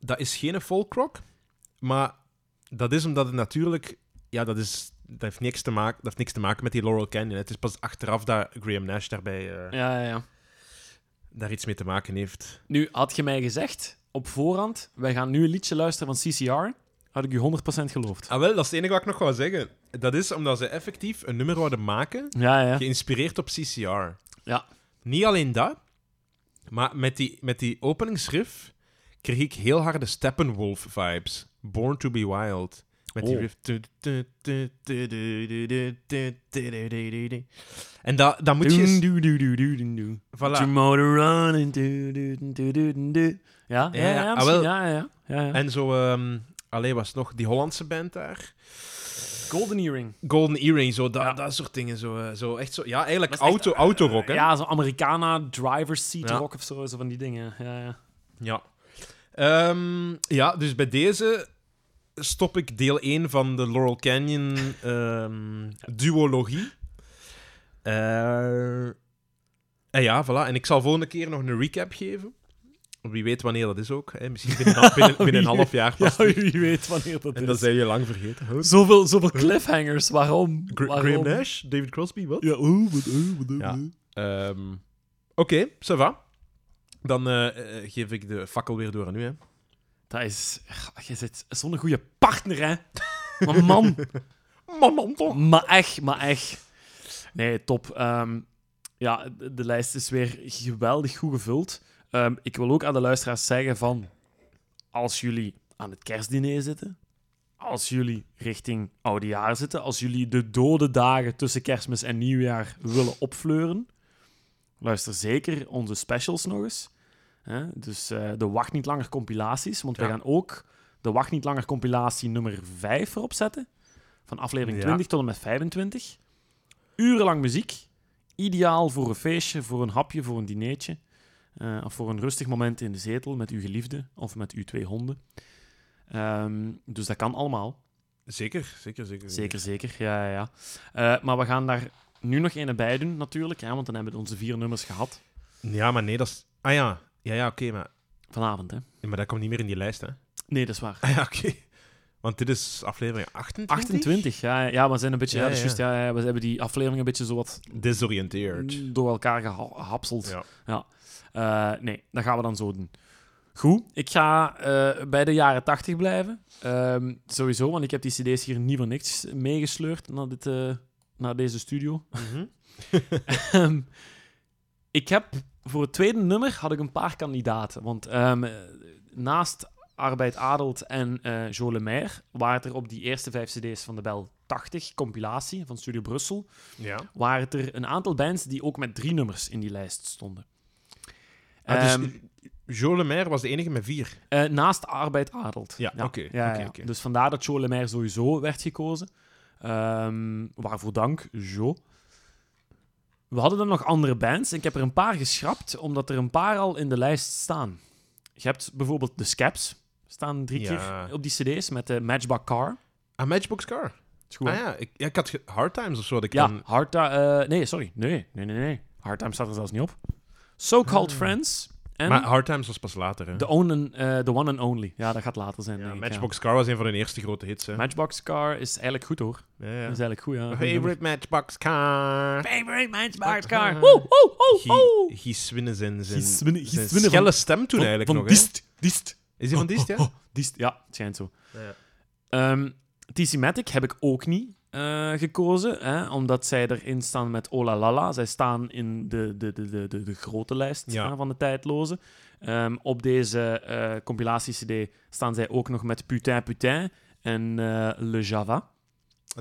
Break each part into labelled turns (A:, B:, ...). A: dat is geen folkrock, maar dat is omdat het natuurlijk... Ja, dat, is, dat, heeft niks te maken, dat heeft niks te maken met die Laurel Canyon. Het is pas achteraf dat Graham Nash daarbij, eh,
B: Ja, ja, ja.
A: daar iets mee te maken heeft.
B: Nu, had je mij gezegd op voorhand, wij gaan nu een liedje luisteren van CCR, had ik je 100% geloofd.
A: Ah wel, dat is het enige wat ik nog wou zeggen. Dat is omdat ze effectief een nummer wilden maken
B: Ja, ja.
A: geïnspireerd op CCR.
B: Ja.
A: Niet alleen dat, maar met die, met die openingsriff kreeg ik heel harde Steppenwolf-vibes. Born to be Wild. Met die
B: Oh.
A: riff. En dat, dat moet je... eens- Voilà.
B: motor running. do, do, do, do, do, do. Ja, ja,
A: Ja,
B: ja,
A: ah,
B: misschien,
A: wel.
B: ja, ja, ja, ja.
A: En zo... ehm Allee, was het nog die Hollandse band daar?
B: Golden Earring.
A: Golden Earring, zo, dat,
B: Ja.
A: dat soort dingen. Zo, eh, zo, echt zo, ja, eigenlijk
B: Dat is echt,
A: auto, autorock, hè?
B: Ja, zo'n Americana driver's seat
A: Ja.
B: rock of zo, zo van die dingen. Ja, ja.
A: Ja. Ehm, ja, dus bij deze stop ik deel 1 van de Laurel Canyon ehm, duologie. Eh, en ja, voilà. En ik zal volgende keer nog een recap geven. Wie weet wanneer dat is ook. Hè. Misschien binnen, binnen, binnen een half jaar pas. terug.
B: wie weet wanneer dat
A: en dat zijn je lang vergeten. Huh?
B: Zoveel, zoveel cliffhangers, waarom?
A: Gra-
B: waarom?
A: Graham Nash? David Crosby? Wat?
B: Ja, oh, wat, oh, wat, oh,
A: Ja.
B: oh.
A: Ehm, Oké, ça va. Dan eh, eh, geef ik de fakkel weer door aan u. Hè.
B: Dat is... Ach, Je zit zo'n goede partner, hè? Maar man,
A: Man, man, toch?
B: maar echt, maar echt. Nee, top. Ehm, ja, de de lijst is weer geweldig goed gevuld. Ehm, ik wil ook aan de luisteraars zeggen van... Als jullie aan het kerstdiner zitten... Als jullie richting oudejaar zitten... Als jullie de dode dagen tussen kerstmis en nieuwjaar willen opfleuren... Luister zeker onze specials nog eens. Hè? Dus eh, de Wacht Niet Langer compilaties. Want we
A: Ja.
B: gaan ook de Wacht Niet Langer compilatie nummer 5 erop zetten. Van aflevering
A: Ja.
B: 20 tot en met 25. Urenlang muziek. Ideaal voor een feestje, voor een hapje, voor een dineetje. eh, of voor een rustig moment in de zetel met uw geliefde of met uw twee honden. Ehm, dus dat kan allemaal.
A: Zeker, zeker, zeker.
B: Zeker, zeker. Ja, ja, ja. Eh, maar we gaan daar nu nog een bij doen, natuurlijk. Hè, want dan hebben we onze vier nummers gehad
A: Ja, maar nee, dat is... Ah ja, ja, ja oké, maar...
B: vanavond. Hè?
A: ja, maar dat komt niet meer in die lijst, hè?
B: Nee, dat is waar.
A: Ah ja, oké. Want dit is aflevering 28?
B: 28, ja, ja, ja, we zijn een beetje, ja,
A: Ja,
B: dat is
A: ja.
B: juist, ja, ja, we hebben die aflevering een beetje zo wat
A: Disoriënteerd.
B: door elkaar gehapseld.
A: Ja.
B: Eh, nee, dat gaan we dan zo doen. Goed, ik ga eh, bij de jaren 80 blijven. Ehm, sowieso, want ik heb die CD's hier niet voor niks meegesleurd naar, dit, eh, naar deze studio.
A: Mhm.
B: Ehm, ik heb voor het tweede nummer had ik een paar kandidaten. Want ehm, eh, naast Arbeid Adelt en eh Jo Lemaire waren het er op die eerste vijf CD's van de Bel 80 compilatie van Studio Brussel
A: Ja.
B: waren het er een aantal bands die ook met drie nummers in die lijst stonden.
A: Ah, dus,
B: Ehm,
A: Jo Lemaire was de enige met vier.
B: eh, naast Arbeid Adelt.
A: Ja, oké,
B: ja,
A: oké,
B: ja.
A: oké.
B: Dus vandaar dat Jo Lemaire sowieso werd gekozen. Ehm, waarvoor dank, Jo. We hadden dan nog andere bands. Ik heb er een paar geschrapt, omdat er een paar al in de lijst staan. Je hebt bijvoorbeeld de Scaps. Staan drie
A: Ja.
B: keer op die cd's met de Matchbox Car. Dat
A: Ah, Matchbox Car.
B: is goed, hè?
A: Ah ja, ik, ja, ik had ge- Hard Times of zo. Dat ik
B: Ja,
A: dan...
B: Hard Ti- eh, nee, sorry. Nee, nee, nee, nee. Hard Time staat er zelfs niet op. So-Called Friends. En
A: Ah. Maar Hard Times was pas later, hè?
B: the, one and, eh, the One and Only. Ja, dat gaat later zijn.
A: Ja,
B: denk ik,
A: Matchbox Car was een van hun eerste grote hits, hè?
B: ja. Matchbox Car is eigenlijk goed hoor.
A: ja, ja.
B: Dat is eigenlijk goed, ja. Goed nummer.
A: Favorite Matchbox Car.
B: Favorite Matchbox Car.
A: Ah.
B: Woe, woe, woe, woe.
A: Guy Swinnen zijn, zijn,
B: Guy Swinnen- Guy
A: zijn
B: Swinnen van-
A: schelle stem toen
B: Van-
A: eigenlijk
B: van
A: nog, hè?
B: Dist, Dist.
A: Is hij van Dist, ja?
B: Oh, Dist, ja, het schijnt zo.
A: Ja.
B: Ehm, TC Matic heb ik ook niet eh, gekozen, hè, omdat zij erin staan met Ola Lala. Zij staan in de, de, de, de, de, de grote lijst
A: Ja.
B: hè, van de tijdloze. Ehm, op deze eh compilatie-CD staan zij ook nog met Putain Putain en eh, Le Java.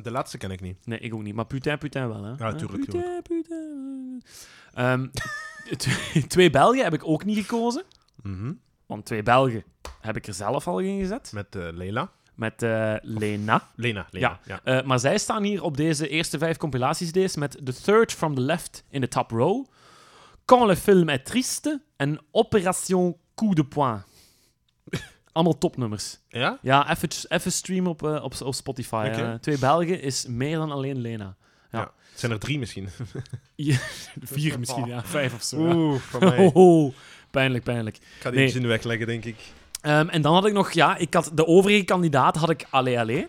A: De laatste ken ik niet.
B: Nee, ik ook niet, maar Putain Putain wel. Hè?
A: Ja, tuurlijk,
B: Putain, Putain. Ehm, t- twee Belgen heb ik ook niet gekozen,
A: Mhm.
B: want twee Belgen heb ik er zelf al in gezet.
A: Met eh, Leila.
B: Met eh, Lena.
A: Lena, Lena. Ja.
B: Eh, maar zij staan hier op deze eerste vijf compilaties met The Third from the Left in the top row, Quand le film est triste en Operation Coup de poing. Allemaal topnummers.
A: Ja?
B: Ja, even, even streamen op, eh, op, op Spotify.
A: Oké.
B: Eh, twee Belgen is meer dan alleen Lena. Ja.
A: Ja. Het zijn er drie misschien.
B: Vier misschien, ja. Vijf of zo. ja.
A: Oeh, van mij.
B: Oh, oh, pijnlijk, pijnlijk.
A: Ik ga die
B: Nee.
A: iets in de weg leggen, denk ik.
B: Ehm, en dan had ik nog, ja, ik had, de overige kandidaat had ik Allee Allee.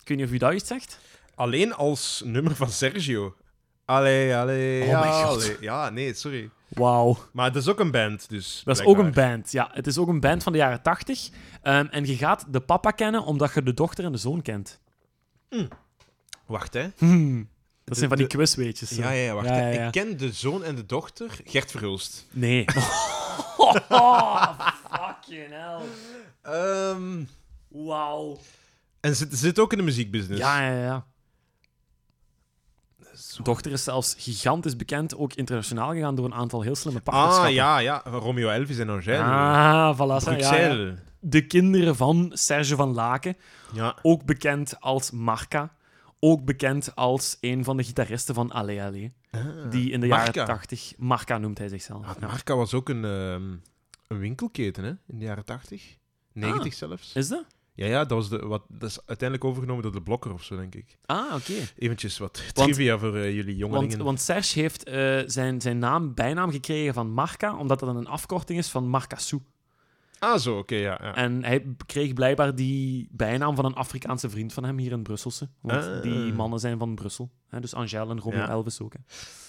B: Ik weet niet of u dat iets zegt.
A: Alleen als nummer van Sergio. Allee, allee,
B: Oh mijn god.
A: allee. Ja, nee, sorry.
B: Wauw.
A: Maar dat is ook een band, dus.
B: Dat is ook
A: blijkbaar.
B: een band, ja. Het is ook een band van de jaren tachtig. Ehm, en je gaat de papa kennen omdat je de dochter en de zoon kent.
A: Wacht, hè.
B: Dat zijn van die quizweetjes. zo.
A: Ja, ja, ja, wacht.
B: Ja,
A: hè.
B: ja, ja.
A: Ik ken de zoon en de dochter, Gert Verhulst.
B: Nee. oh, fucking hell.
A: Ehm,
B: Wauw.
A: en zit, zit ook in de muziekbusiness.
B: Ja, ja, ja. Dochter is zelfs gigantisch bekend, ook internationaal gegaan door een aantal heel slimme partnerschappen.
A: Ah, ja, ja. Romeo Elvis en Angèle.
B: Ah, voilà. zo, Ja, ja.
A: Bruxelles. Ja,
B: De kinderen van Serge van Laken, ook bekend als Marca. Ook bekend als een van de gitaristen van Allee Allee. Die in de
A: Ah, Marca.
B: jaren 80 Marca noemt hij zichzelf.
A: Ah,
B: Ja.
A: Marca was ook een, ehm, een winkelketen, hè? In de jaren 80. 90
B: Ah.
A: zelfs.
B: Is dat?
A: Ja, ja, dat, was de, wat, dat is uiteindelijk overgenomen door de blokker of zo, denk ik.
B: Ah, oké.
A: Eventjes wat trivia voor eh, jullie
B: Want,
A: jongelingen.
B: want Serge heeft eh, zijn, zijn naam, bijnaam gekregen van Marca, omdat dat een afkorting is van Marcassou.
A: ah, zo, oké, ja. ja.
B: En hij kreeg blijkbaar die bijnaam van een Afrikaanse vriend van hem hier in Brusselse. Want
A: Ah.
B: die mannen zijn van Brussel. Hè? Dus Angèle en Romeo
A: Ja.
B: Elvis ook. Hè?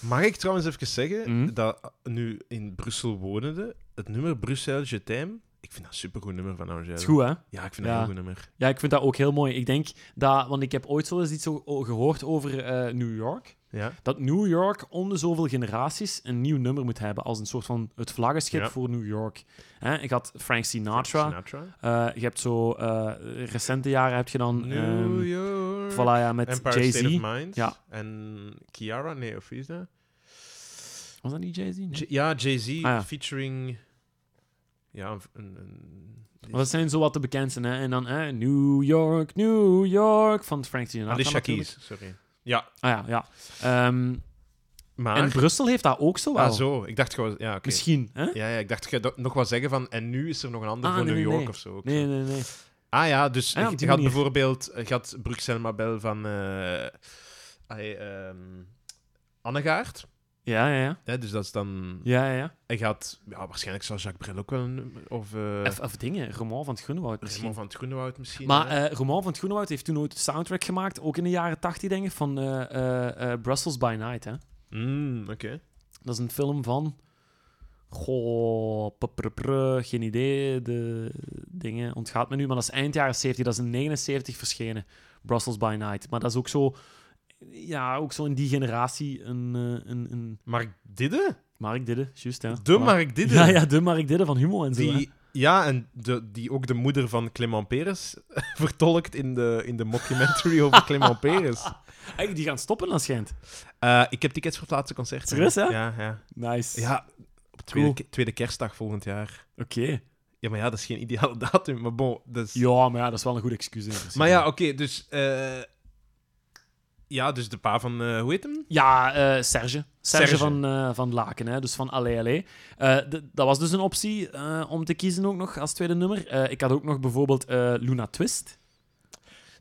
A: Mag ik trouwens even zeggen
B: Mhm.
A: dat nu in Brussel wonende, het nummer Bruxelles Je t'aime, ik vind dat een supergoed nummer van Angèle.
B: Is goed, hè?
A: Ja, ik vind dat
B: Ja.
A: een heel goed nummer.
B: Ja, ik vind dat ook heel mooi. Ik denk dat, want ik heb ooit zo eens iets o- o- gehoord over eh, New York.
A: Ja.
B: Dat New York om de zoveel generaties een nieuw nummer moet hebben. Als een soort van het vlaggenschip
A: Ja.
B: voor New York. Hè? Ik had Frank Sinatra.
A: Sinatra.
B: Eh, je hebt zo eh, recente jaren heb je dan.
A: New
B: ehm
A: York.
B: voilà, ja, met
A: Empire
B: Jay-Z.
A: State of Mind.
B: Ja.
A: En Kiara, nee, of wie is dat?
B: Was dat niet Jay-Z? Nee.
A: J- ja, Jay-Z
B: Ah, ja.
A: featuring... Ja, een... een, een-
B: Maar dat zijn zo wat de bekendste. Hè? En dan eh, New York, New York van Frank Sinatra.
A: Alicia
B: natuurlijk.
A: Keys, sorry. Ja,
B: Ah ja, ja. Ehm,
A: maar...
B: en Brussel heeft dat ook zo wel.
A: ah, zo. Ik dacht gewoon... Ja, oké.
B: Misschien, hè?
A: Ja, ja, ik dacht je nog wat zeggen van... En nu is er nog een ander
B: Ah,
A: voor
B: nee,
A: New
B: nee,
A: York
B: nee.
A: of zo. ook
B: Nee,
A: zo.
B: nee, nee.
A: Ah ja, dus
B: Ah, op
A: je
B: die
A: gaat
B: manier.
A: bijvoorbeeld... eh, Je gaat Bruxelles Mabel van... eh allee, ehm, Annegaard.
B: Ja, ja, ja.
A: Hè, dus dat is dan...
B: ja, ja, ja.
A: Hij gaat, ja, waarschijnlijk zal Jacques Brel ook wel een nummer- Of eh
B: of, of dingen, Roman van het Groenewoud misschien.
A: Raymond van het Groenewoud misschien.
B: Maar
A: hè.
B: eh Roman van het Groenewoud heeft toen ook de soundtrack gemaakt, ook in de jaren 80 denk ik, van eh, eh, eh, Brussels by Night. Hè?
A: Mm,
B: Hmm,
A: Oké.
B: Dat is een film van... Goh, pupperpru, geen idee, de dingen ontgaat me nu. Maar dat is eind jaren 70, dat is in 79 verschenen, Brussels by Night. Maar dat is ook zo, ja, ook zo in die generatie een... eh, een, een
A: Mark Didde?
B: Mark Didde, juist hè.
A: De
B: Voilà.
A: Mark Didde?
B: Ja, ja, de Mark Didde van Humo en zo. hè.
A: Die, ja, en de, die ook de moeder van Clement Peres vertolkt in de, in de mockumentary over Clement Peres.
B: Hey, die gaan stoppen, dat schijnt.
A: Eh, ik heb tickets voor het laatste concert.
B: Serieus, hè?
A: Ja, ja.
B: Nice.
A: ja op tweede,
B: Cool.
A: ke- tweede kerstdag volgend jaar.
B: Oké.
A: Ja, maar ja, dat is geen ideale datum. Maar bon, dat is...
B: Ja, maar ja, dat is wel een goed excuus. in principe.
A: Maar ja, oké, dus... eh, ja, dus de pa van... eh, hoe heet hem?
B: Ja, eh, Serge. Serge.
A: Serge.
B: van, eh, van Laken, hè? dus van Allee Allee. Eh, d- dat was dus een optie eh, om te kiezen ook nog als tweede nummer. Eh, ik had ook nog bijvoorbeeld eh, Luna Twist.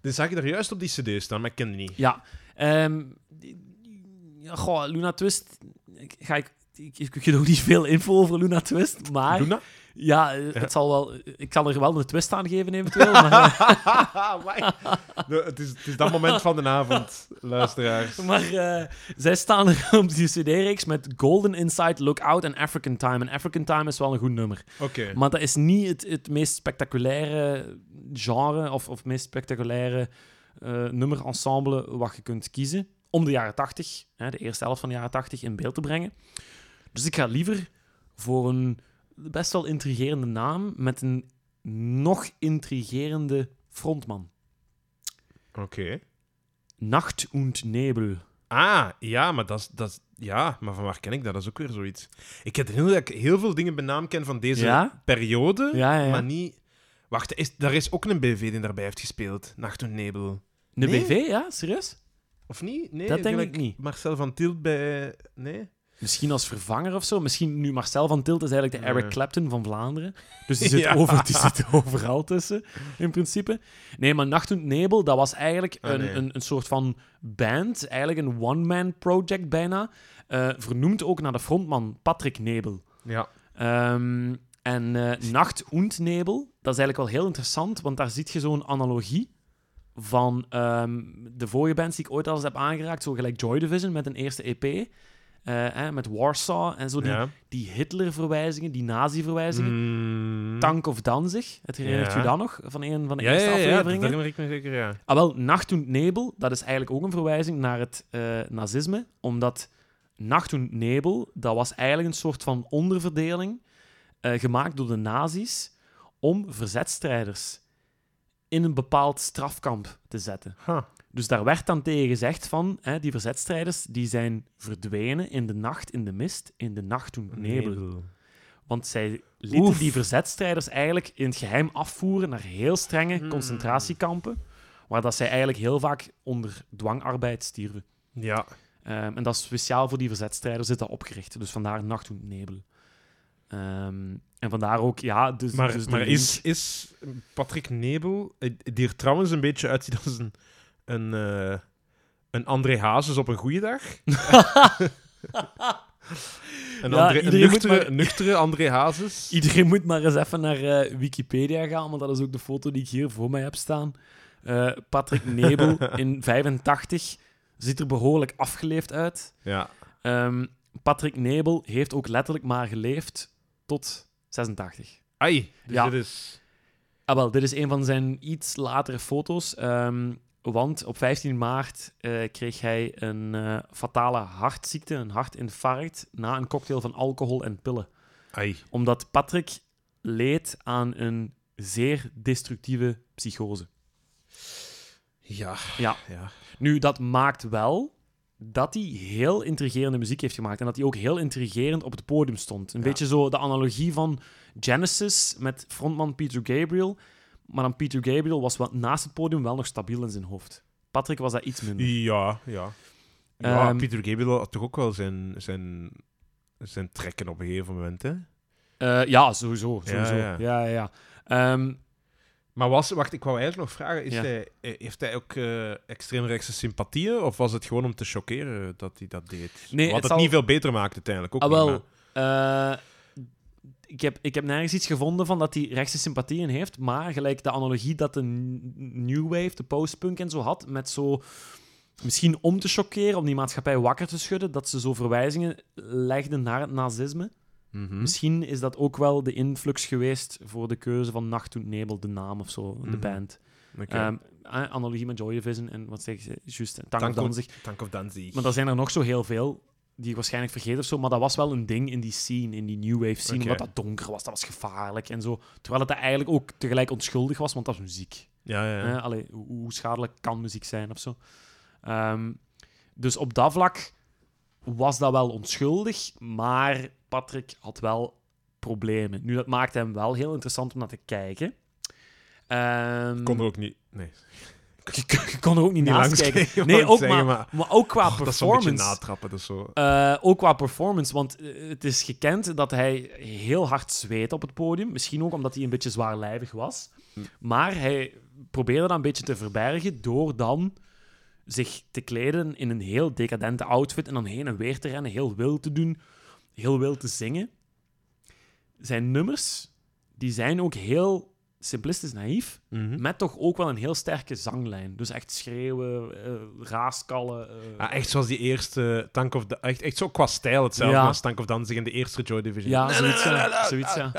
A: Dus zag je er juist op die cd staan, maar ik ken die niet.
B: Ja. Ehm, die- ja, goh, Luna Twist... ik- Ga ik... Ik, ik geef ook niet veel info over Luna Twist, maar...
A: Luna?
B: Ja, eh, het zal wel, ik zal er wel een twist aan geven eventueel, maar... eh,
A: Amai. De- het, is, het is dat moment van de avond, luisteraars.
B: Maar eh, zij staan er op die CD-reeks met Golden Inside, Lookout en African Time. En African Time is wel een goed nummer.
A: Oké.
B: Maar dat is niet het, het meest spectaculaire genre of, of meest spectaculaire eh nummerensemble wat je kunt kiezen om de jaren 80, hè, de eerste helft van de jaren 80, in beeld te brengen. Dus ik ga liever voor een best wel intrigerende naam met een nog intrigerende frontman.
A: Oké.
B: Nacht und Nebel.
A: Ah, ja, maar dat is- dat is- Ja, maar van waar ken ik dat? Dat is ook weer zoiets. Ik heb de indruk dat ik heel veel dingen bij naam ken van deze
B: Ja?
A: periode,
B: Ja, ja, ja.
A: maar niet... Wacht, is, daar is ook een BV die daarbij heeft gespeeld. Nacht en Nebel.
B: De
A: Nee?
B: BV, ja? Serieus?
A: Of niet? Nee,
B: Dat denk
A: gelijk
B: ik niet.
A: Marcel van Tielt bij... Nee?
B: Misschien als vervanger of zo. Misschien nu Marcel van Tilt is eigenlijk de
A: Ja.
B: Eric Clapton van Vlaanderen. Dus die zit,
A: Ja.
B: over, die zit overal tussen, in principe. Nee, maar Nacht und Nebel, dat was eigenlijk
A: Ah,
B: een,
A: nee.
B: een, een soort van band. Eigenlijk een one-man project bijna. eh, vernoemd ook naar de frontman Patrick Nebel.
A: Ja.
B: Ehm, En eh, Nacht und Nebel, dat is eigenlijk wel heel interessant, want daar zie je zo'n analogie van ehm, de vorige bands die ik ooit al eens heb aangeraakt, zo gelijk Joy Division met een eerste EP, eh, hè, met Warsaw en zo, die,
A: Ja.
B: die Hitler-verwijzingen, die Nazi-verwijzingen.
A: Mm.
B: Tank of Danzig, het herinnert
A: Ja.
B: je dat nog, van een van de
A: Ja, ja,
B: eerste
A: ja, ja, dat
B: afleveringen?
A: herinner ik me zeker, ja.
B: Ah, wel, Nacht und Nebel, dat is eigenlijk ook een verwijzing naar het eh, nazisme, omdat Nacht und Nebel, dat was eigenlijk een soort van onderverdeling eh, gemaakt door de nazi's om verzetstrijders in een bepaald strafkamp te zetten.
A: Ha.
B: Dus daar werd dan tegen gezegd van, hè, die verzetstrijders die zijn verdwenen in de nacht, in de mist, in de Nacht und Nebel. Want zij lieten
A: Oef.
B: die verzetstrijders eigenlijk in het geheim afvoeren naar heel strenge
A: Hmm.
B: concentratiekampen, waar dat zij eigenlijk heel vaak onder dwangarbeid stierven.
A: Ja.
B: Ehm, en dat is speciaal voor die verzetstrijders is dat opgericht. Dus vandaar Nacht und Nebel. Ehm, en vandaar ook, ja... Dus,
A: Maar,
B: dus de
A: maar
B: link-
A: is, is Patrick Nebel, eh, die er trouwens een beetje uitziet als een, een, eh, een André Hazes op een goede dag? een,
B: Ja,
A: André, een
B: iedereen moet
A: nuchtere,
B: maar-
A: nuchtere André Hazes?
B: Iedereen moet maar eens even naar eh, Wikipedia gaan, want dat is ook de foto die ik hier voor mij heb staan. Eh, Patrick Nebel in 85 ziet er behoorlijk afgeleefd uit.
A: Ja.
B: Ehm, Patrick Nebel heeft ook letterlijk maar geleefd tot 86.
A: Ai, dus
B: Ja.
A: dit is...
B: Ah, wel, dit is een van zijn iets latere foto's. ehm, want op 15 maart eh, kreeg hij een eh, fatale hartziekte, een hartinfarct, na een cocktail van alcohol en pillen.
A: Ai.
B: Omdat Patrick leed aan een zeer destructieve psychose.
A: Ja.
B: Ja.
A: ja.
B: Nu, dat maakt wel dat hij heel intrigerende muziek heeft gemaakt. En dat hij ook heel intrigerend op het podium stond. Een
A: Ja.
B: beetje zo de analogie van Genesis met frontman Peter Gabriel. Maar dan Peter Gabriel was wel, naast het podium wel nog stabiel in zijn hoofd. Patrick was dat iets minder.
A: Ja, ja. Ja,
B: Ehm,
A: Peter Gabriel had toch ook wel zijn, zijn, zijn trekken op een gegeven moment, hè?
B: Eh, ja, sowieso.
A: Ja,
B: sowieso.
A: ja.
B: Ja, ja. ja. Ehm,
A: Maar was, wacht, ik wou eigenlijk nog vragen: is
B: Ja.
A: hij, eh, heeft hij ook eh, extreemrechtse sympathieën? Of was het gewoon om te chockeren dat hij dat deed?
B: Nee,
A: Wat
B: het
A: het
B: zal-
A: niet veel beter maakt uiteindelijk. Ook
B: ah, wel.
A: niet, maar-
B: eh, ik, heb, ik heb nergens iets gevonden van dat hij rechtse sympathieën heeft. Maar gelijk de analogie dat de n- New Wave, de postpunk en zo had. Met zo. Misschien om te choqueren, om die maatschappij wakker te schudden. Dat ze zo verwijzingen legden naar het nazisme.
A: Mhm.
B: Misschien is dat ook wel de influx geweest voor de keuze van Nacht und Nebel, de naam of zo, de
A: Mhm.
B: band.
A: Oké.
B: Ehm, eh, analogie met Joy Division en wat zeg je, juist, en Tank of
A: Tank of-
B: Danzig.
A: Tank of Danzig.
B: Maar er zijn er nog zo heel veel die ik waarschijnlijk vergeet of zo. Maar dat was wel een ding in die scene, in die new wave scene.
A: Oké.
B: Omdat dat donker was, dat was gevaarlijk en zo. Terwijl het dat eigenlijk ook tegelijk onschuldig was, want dat is muziek.
A: Ja, ja. ja.
B: Eh, allee, hoe, hoe schadelijk kan muziek zijn of zo. Ehm, dus op dat vlak was dat wel onschuldig, maar Patrick had wel problemen. Nu, dat maakte hem wel heel interessant om naar te kijken. Ehm,
A: Kon er ook niet. Nee,
B: je, je kon er ook niet,
A: niet
B: naast
A: langs
B: kijken.
A: kijken, wou
B: Nee,
A: ik
B: ook
A: zeggen,
B: maar, maar...
A: maar- Oh,
B: ook qua
A: dat is zo'n beetje
B: performance.
A: natrappen. Dus zo.
B: Eh, ook qua performance, want eh, het is gekend dat hij heel hard zweet op het podium. Misschien ook omdat hij een beetje zwaarlijvig was. Maar hij probeerde dat een beetje te verbergen door dan zich te kleden in een heel decadente outfit en dan heen en weer te rennen, heel wild te doen, heel wild te zingen. Zijn nummers, die zijn ook heel simplistisch naïef,
A: Mhm.
B: met toch ook wel een heel sterke zanglijn. Dus echt schreeuwen, eh, raaskallen. eh,
A: Ah, echt zoals die eerste Tank of... Da- Echt, echt zo qua stijl hetzelfde
B: Ja.
A: als Tank of Danzig in de eerste Joy Division.
B: Ja, zoiets, ja. Zoiets, ja.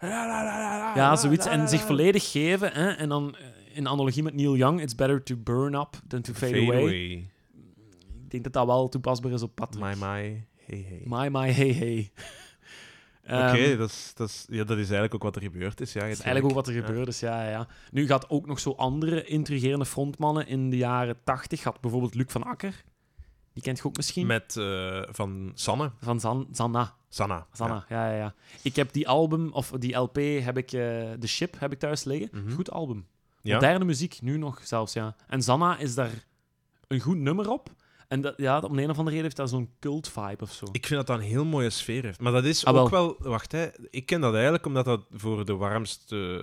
B: Ja,
A: Ah,
B: zoiets. En zich volledig geven. Hè? En dan eh, in analogie met Neil Young, it's better to burn up than to fade,
A: Fade
B: away.
A: away.
B: Ik denk dat dat wel toepasbaar is op Patrick.
A: My, my. Hey, hey.
B: my, my, hey, hey.
A: Oké,
B: Ehm,
A: dat, is, dat, is, ja, dat is eigenlijk ook wat er gebeurd is. Ja,
B: dat is eigenlijk ook wat er gebeurd is, ja, ja, ja. Nu gaat ook nog zo andere intrigerende frontmannen in de jaren tachtig. Gaat bijvoorbeeld Luc van Akker. Die kent je ook misschien.
A: Met eh, van Sanne.
B: Van Zan Zanna.
A: Sanna.
B: Zanna, ja. ja, ja, Ik heb die album, of die LP, heb ik, eh The Ship, heb ik thuis liggen.
A: Mhm.
B: Goed album.
A: Ja.
B: Moderne muziek, nu nog zelfs, ja. En Zanna is daar een goed nummer op. En dat, ja, om de een of andere reden heeft dat zo'n cult-vibe of zo.
A: Ik vind dat dat een heel mooie sfeer heeft. Maar dat is
B: Ah, wel.
A: ook wel... Wacht, hè. Ik ken dat eigenlijk omdat dat voor de warmste...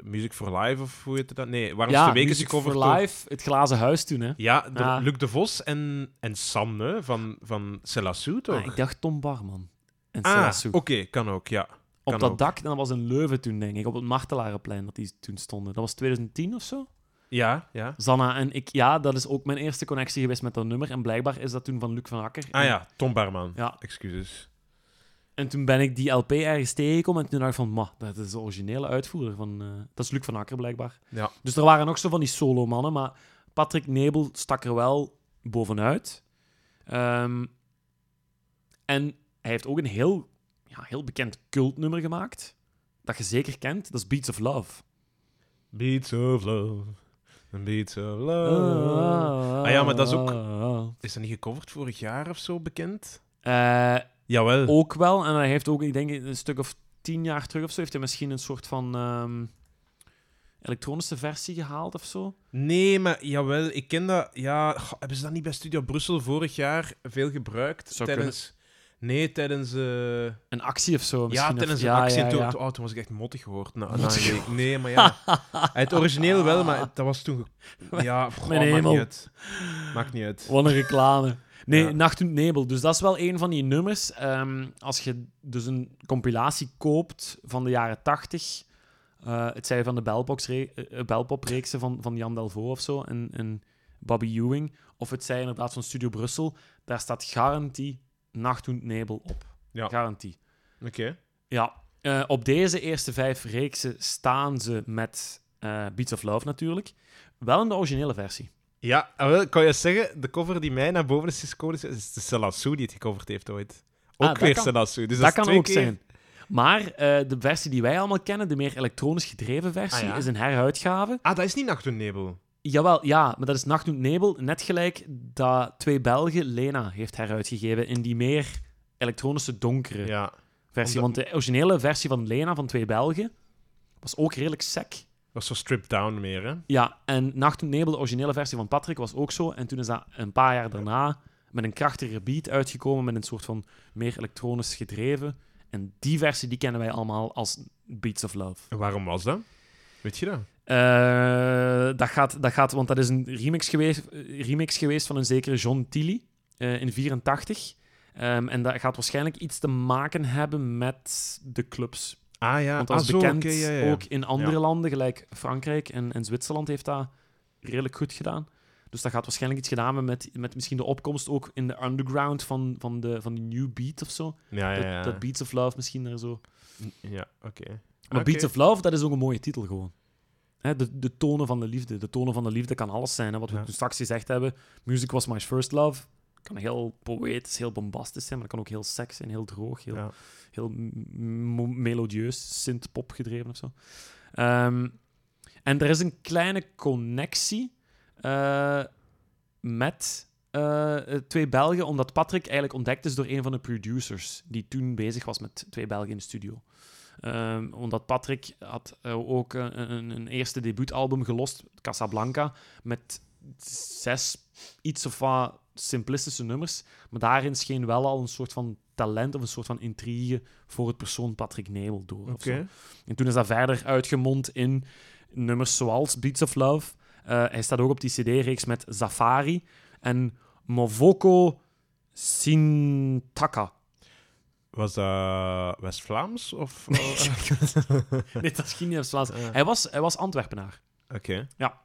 A: eh, Music for Live, of hoe heet dat? Nee, warmste
B: ja,
A: week is
B: Music
A: gecoverd
B: for Ah.
A: door-
B: Live, het glazen huis toen, hè.
A: Ja, de-
B: Ja.
A: Luc de Vos en, en Sam hè, van, van Celassou, toch?
B: Ah, ik dacht Ah, Tom Barman. En
A: Ah,
B: Selassou.
A: oké, kan ook, ja. Kan
B: op dat
A: ook.
B: dak, en dat was in Leuven toen, denk ik, op het Martelarenplein dat die toen stonden. Dat was 2010 of zo.
A: Ja, ja.
B: Zanna en ik, ja, dat is ook mijn eerste connectie geweest met dat nummer. En blijkbaar is dat toen van Luc van Akker.
A: Ah
B: En-
A: ja, Tom Barman.
B: Ja,
A: Excuses.
B: en toen ben ik die LP ergens tegengekomen en toen dacht ik van, ma, dat is de originele uitvoerder van... eh, dat is Luc van Akker, blijkbaar.
A: Ja.
B: Dus er waren nog zo van die solo-mannen, maar Patrick Nebel stak er wel bovenuit. Ehm, en hij heeft ook een heel, ja, heel bekend cultnummer gemaakt, dat je zeker kent. Dat is Beats of Love.
A: Beats of love. Beats
B: Ah,
A: of love. Ah ja, maar dat is ook- Is dat niet gecoverd vorig jaar of zo bekend? Oh.
B: Eh,
A: Jawel.
B: ook wel. En hij heeft ook, ik denk een stuk of tien jaar terug of zo, heeft hij misschien een soort van ehm, elektronische versie gehaald of zo.
A: Nee, maar jawel, ik ken dat. Ja, goh, hebben ze dat niet bij Studio Brussel vorig jaar veel gebruikt?
B: Zou
A: tijdens. Nee, tijdens. eh,
B: Een actie of zo.
A: Ja,
B: Misschien
A: tijdens
B: of,
A: een
B: ja,
A: actie.
B: ja,
A: en toen,
B: ja.
A: toen- oh, toen was ik echt mottig geworden. na- na een week. Nee, maar ja. Het origineel wel, maar het- dat was toen... ge- Ja, goh,
B: Ah. Mijn
A: maakt
B: hemel.
A: niet uit. Maakt niet uit.
B: Wat een reclame. Nee,
A: Ja.
B: Nacht en Nebel. Dus dat is wel een van die nummers. Ehm, als je dus een compilatie koopt van de jaren 80, eh, het zijn van de Bellbox re- eh, eh, Bellpop-reeksen van, van Jan Delvaux of zo en, en Bobby Ewing, of het zij inderdaad van Studio Brussel, daar staat garantie Nacht en Nebel op.
A: Ja.
B: Garantie.
A: Oké.
B: Ja, eh, op deze eerste vijf reeksen staan ze met eh, Beats of Love natuurlijk. Wel in de originele versie.
A: Ja, ah, wel, kan je zeggen, de cover die mij naar boven is gescoord, is- is de Selassou die het gecoverd heeft ooit.
B: Ah,
A: Ook
B: dat
A: weer
B: kan-
A: Selassou. Dus
B: dat
A: is
B: kan
A: twee
B: ook
A: keer-
B: zijn. Maar eh, de versie die wij allemaal kennen, de meer elektronisch gedreven versie,
A: Ah, ja?
B: is een heruitgave.
A: Ah, dat is niet Nacht en Nebel.
B: Jawel, ja, maar dat is Nacht en Nebel. Net gelijk dat Twee Belgen Lena heeft heruitgegeven in die meer elektronische donkere
A: Ja.
B: versie.
A: omdat-
B: Want de originele versie van Lena van Twee Belgen was ook redelijk sec.
A: was zo stripped down meer, hè?
B: Ja, en Nacht en Nebel, de originele versie van Patrick, was ook zo. En toen is dat een paar jaar daarna met een krachtiger beat uitgekomen, met een soort van meer elektronisch gedreven. En die versie die kennen wij allemaal als Beats of Love.
A: En waarom was dat? Weet je dat?
B: Eh, dat, gaat, dat gaat, want dat is een remix geweest, eh, remix geweest van een zekere John Tilly eh, in 84. Ehm, en dat gaat waarschijnlijk iets te maken hebben met de clubs.
A: Ah ja,
B: Want dat
A: ah,
B: is
A: zo,
B: bekend,
A: oké, ja, ja, ja.
B: ook in andere
A: Ja.
B: landen, gelijk Frankrijk en, en Zwitserland, heeft dat redelijk goed gedaan. Dus dat gaat waarschijnlijk iets gedaan hebben met, met misschien de opkomst ook in de underground van, van, de, van die New Beat of zo.
A: Ja, ja, ja.
B: Dat, dat Beats of Love misschien daar zo.
A: Ja, oké.
B: Maar
A: Oké.
B: Beats of Love, dat is ook een mooie titel gewoon. Hè, de, de tonen van de liefde. De tonen van de liefde kan alles zijn. Hè, wat we
A: Ja.
B: toen straks gezegd hebben. Music was my first love. Kan heel poëtisch, heel bombastisch zijn, maar kan ook heel seks zijn, heel droog, heel,
A: Ja.
B: heel m- mo- melodieus, synth-pop gedreven of zo. Ehm, en er is een kleine connectie eh, met eh, twee Belgen, omdat Patrick eigenlijk ontdekt is door een van de producers die toen bezig was met twee Belgen in de studio. Ehm, omdat Patrick had eh, ook eh, een, een eerste debuutalbum gelost, Casablanca, met zes iets of wat simplistische nummers. Maar daarin scheen wel al een soort van talent of een soort van intrigue voor het persoon Patrick Nebel door. of
A: Oké.
B: zo. En toen is dat verder uitgemond in nummers zoals Beats of Love. Eh, hij staat ook op die CD-reeks met Safari en Movoko Sintaka.
A: Was dat West-Vlaams? Of...
B: Nee, dat is geen Nederlands. Hij was, hij was Antwerpenaar.
A: Oké.
B: Ja.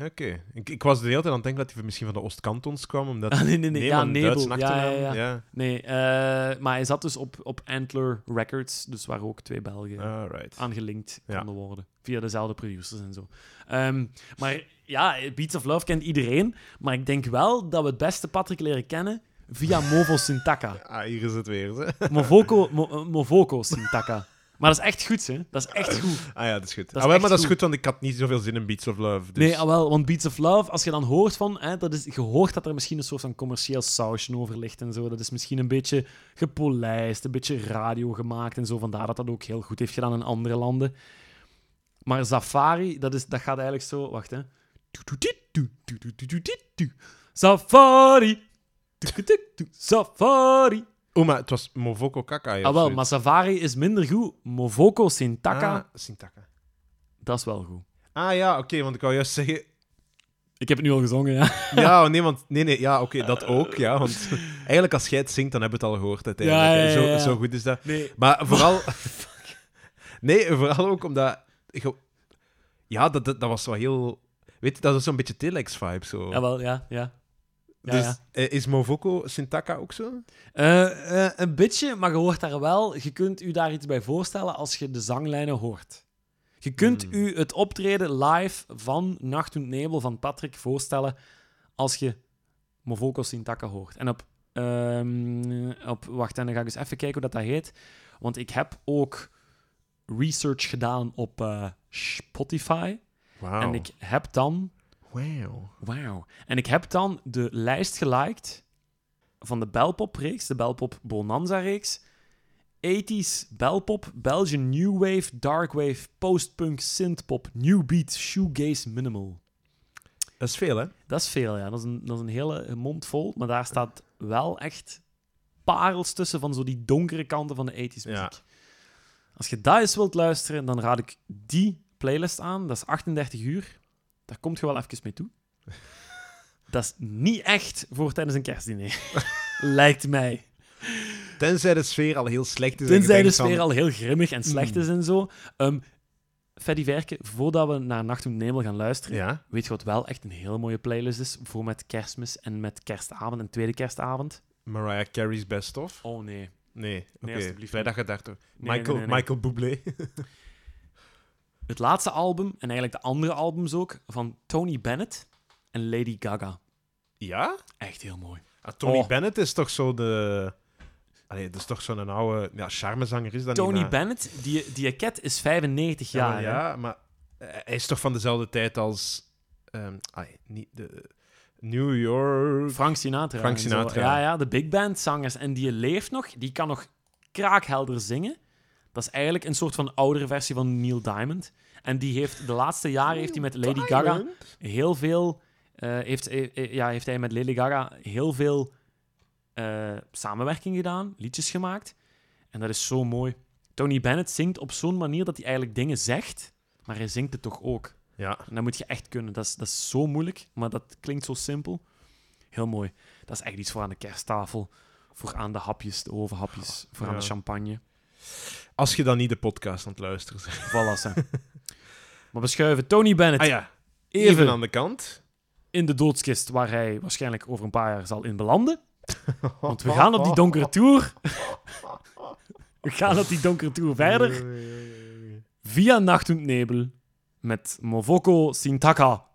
A: Oké. Ik, ik was de hele tijd aan het denken dat hij misschien van de Oostkantons kwam, omdat...
B: Ah, nee, nee, nee. Ja,
A: maar een Duitse
B: Nebel. Ja, ja,
A: achternaam.
B: ja.
A: ja.
B: Nee, eh, maar hij zat dus op, op Antler Records, dus waar ook twee Belgen
A: Alright.
B: aangelinkt
A: Ja.
B: konden worden. Via dezelfde producers en zo. Ehm, maar ja, Beats of Love kent iedereen. Maar ik denk wel dat we het beste Patrick leren kennen via Movo Sintaka.
A: Ah, hier is het weer. Hè.
B: Movoko, Mo- eh, Movoko Sintaka. Maar dat is echt goed, hè? Dat is echt goed.
A: Ah ja, dat is goed.
B: is
A: ah, wel,
B: echt
A: maar dat is
B: goed.
A: goed, want ik had niet zoveel zin in Beats of Love. Dus...
B: Nee, al wel, want Beats of Love, als je dan hoort van, hè, dat is, je hoort dat er misschien een soort van commercieel sausje over ligt en zo. Dat is misschien een beetje gepolijst, een beetje radio gemaakt en zo. Vandaar dat dat ook heel goed heeft gedaan in andere landen. Maar Safari, dat, is, dat gaat eigenlijk zo. Wacht, hè. Safari. Safari.
A: Oh, maar het was Movoko Kaka. Ja,
B: Ah, wel,
A: zoiets.
B: maar Safari is minder goed. Movoko Sintaka,
A: Ah, Sintaka.
B: dat is wel goed.
A: Ah ja, oké, want ik wou juist zeggen...
B: Ik heb het nu al gezongen, ja.
A: Ja, nee, want... Nee, nee, ja, oké, dat ook, ja. Want eigenlijk als jij het zingt, dan hebben we het al gehoord uiteindelijk.
B: Ja, ja,
A: hè.
B: ja, ja.
A: Zo, zo goed is dat.
B: Nee.
A: Maar vooral... Nee, en vooral ook omdat... ge- Ja, dat, dat, dat was wel heel... Weet je, dat is zo'n beetje Telex-vibe zo.
B: Jawel, Ah, ja, ja. ja,
A: dus
B: ja.
A: eh, is Movoko Sintaka ook zo?
B: Eh, eh, een beetje, maar je hoort daar wel... Je kunt u daar iets bij voorstellen als je de zanglijnen hoort. Je kunt
A: Hmm.
B: u het optreden live van Nacht und Nebel van Patrick voorstellen als je Movoko Sintaka hoort. En op... ehm, op wacht, en dan ga ik eens even kijken hoe dat, dat heet. Want ik heb ook research gedaan op eh, Spotify.
A: Wauw.
B: En ik heb dan...
A: Wauw.
B: Wauw. En ik heb dan de lijst geliked van de Belpop-reeks, de Belpop Bonanza-reeks. 80s Belpop, Belgian New Wave, Dark Wave, Postpunk, Synthpop, New Beat, Shoegaze, Minimal.
A: Dat is veel, hè?
B: Dat is veel, ja. Dat is een, dat is een hele mond vol, maar daar staat wel echt parels tussen van zo die donkere kanten van de 80s muziek.
A: Ja.
B: Als je dat eens wilt luisteren, dan raad ik die playlist aan. Dat is 38 uur. Daar komt je wel even mee toe. Dat is niet echt voor tijdens een kerstdiner. Lijkt mij.
A: Tenzij de sfeer al heel slecht is. en je
B: Tenzij de
A: denkt van,
B: sfeer al heel grimmig en slecht
A: Mm.
B: is en zo. Ehm Freddy Verke, voordat we naar Nacht om Nemel gaan luisteren,
A: Ja?
B: weet je wat wel echt een hele mooie playlist is voor met kerstmis en met kerstavond en tweede kerstavond?
A: Mariah Carey's Best Of?
B: Oh nee.
A: Nee, oké.
B: alsjeblieft.
A: Vrijdag gedacht hoor.
B: Nee, nee,
A: Michael,
B: nee, nee.
A: Michael Bublé.
B: Het laatste album, en eigenlijk de andere albums ook, van Tony Bennett en Lady Gaga.
A: ja?
B: Echt heel mooi.
A: Ah, Tony
B: Oh.
A: Bennett is toch zo de... Allee, dat is toch zo'n oude... Ja, charmezanger is dat
B: Tony
A: niet, maar-
B: Bennett, die, die cat is 95
A: Ja, maar,
B: jaar. hè?
A: ja, maar eh, hij is toch van dezelfde tijd als... ehm, ai, niet de, New York...
B: Frank Sinatra.
A: Frank
B: en zo.
A: Sinatra.
B: Ja, ja, de big band zangers. En die leeft nog, die kan nog kraakhelder zingen. Dat is eigenlijk een soort van oudere versie van Neil Diamond. En die heeft de laatste jaren heeft hij met Lady Gaga heel veel. eh, heeft, eh, eh, ja, heeft hij met Lady Gaga heel veel eh, samenwerking gedaan, liedjes gemaakt. En dat is zo mooi. Tony Bennett zingt op zo'n manier dat hij eigenlijk dingen zegt, maar hij zingt het toch ook.
A: Ja,
B: En dat moet je echt kunnen. Dat is, dat is zo moeilijk, maar dat klinkt zo simpel. Heel mooi. Dat is echt iets voor aan de kersttafel, voor aan de hapjes, de overhapjes, voor aan
A: Ja.
B: de champagne.
A: als je dan niet de podcast aan het luisteren bent.
B: Voilà, hè. Maar we schuiven Tony Bennett
A: Ah ja, even,
B: even
A: aan de kant.
B: in de doodskist waar hij waarschijnlijk over een paar jaar zal in belanden. Want we gaan op die donkere tour. we gaan op die donkere tour verder. Via Nacht und Nebel met Movoko Sintaka.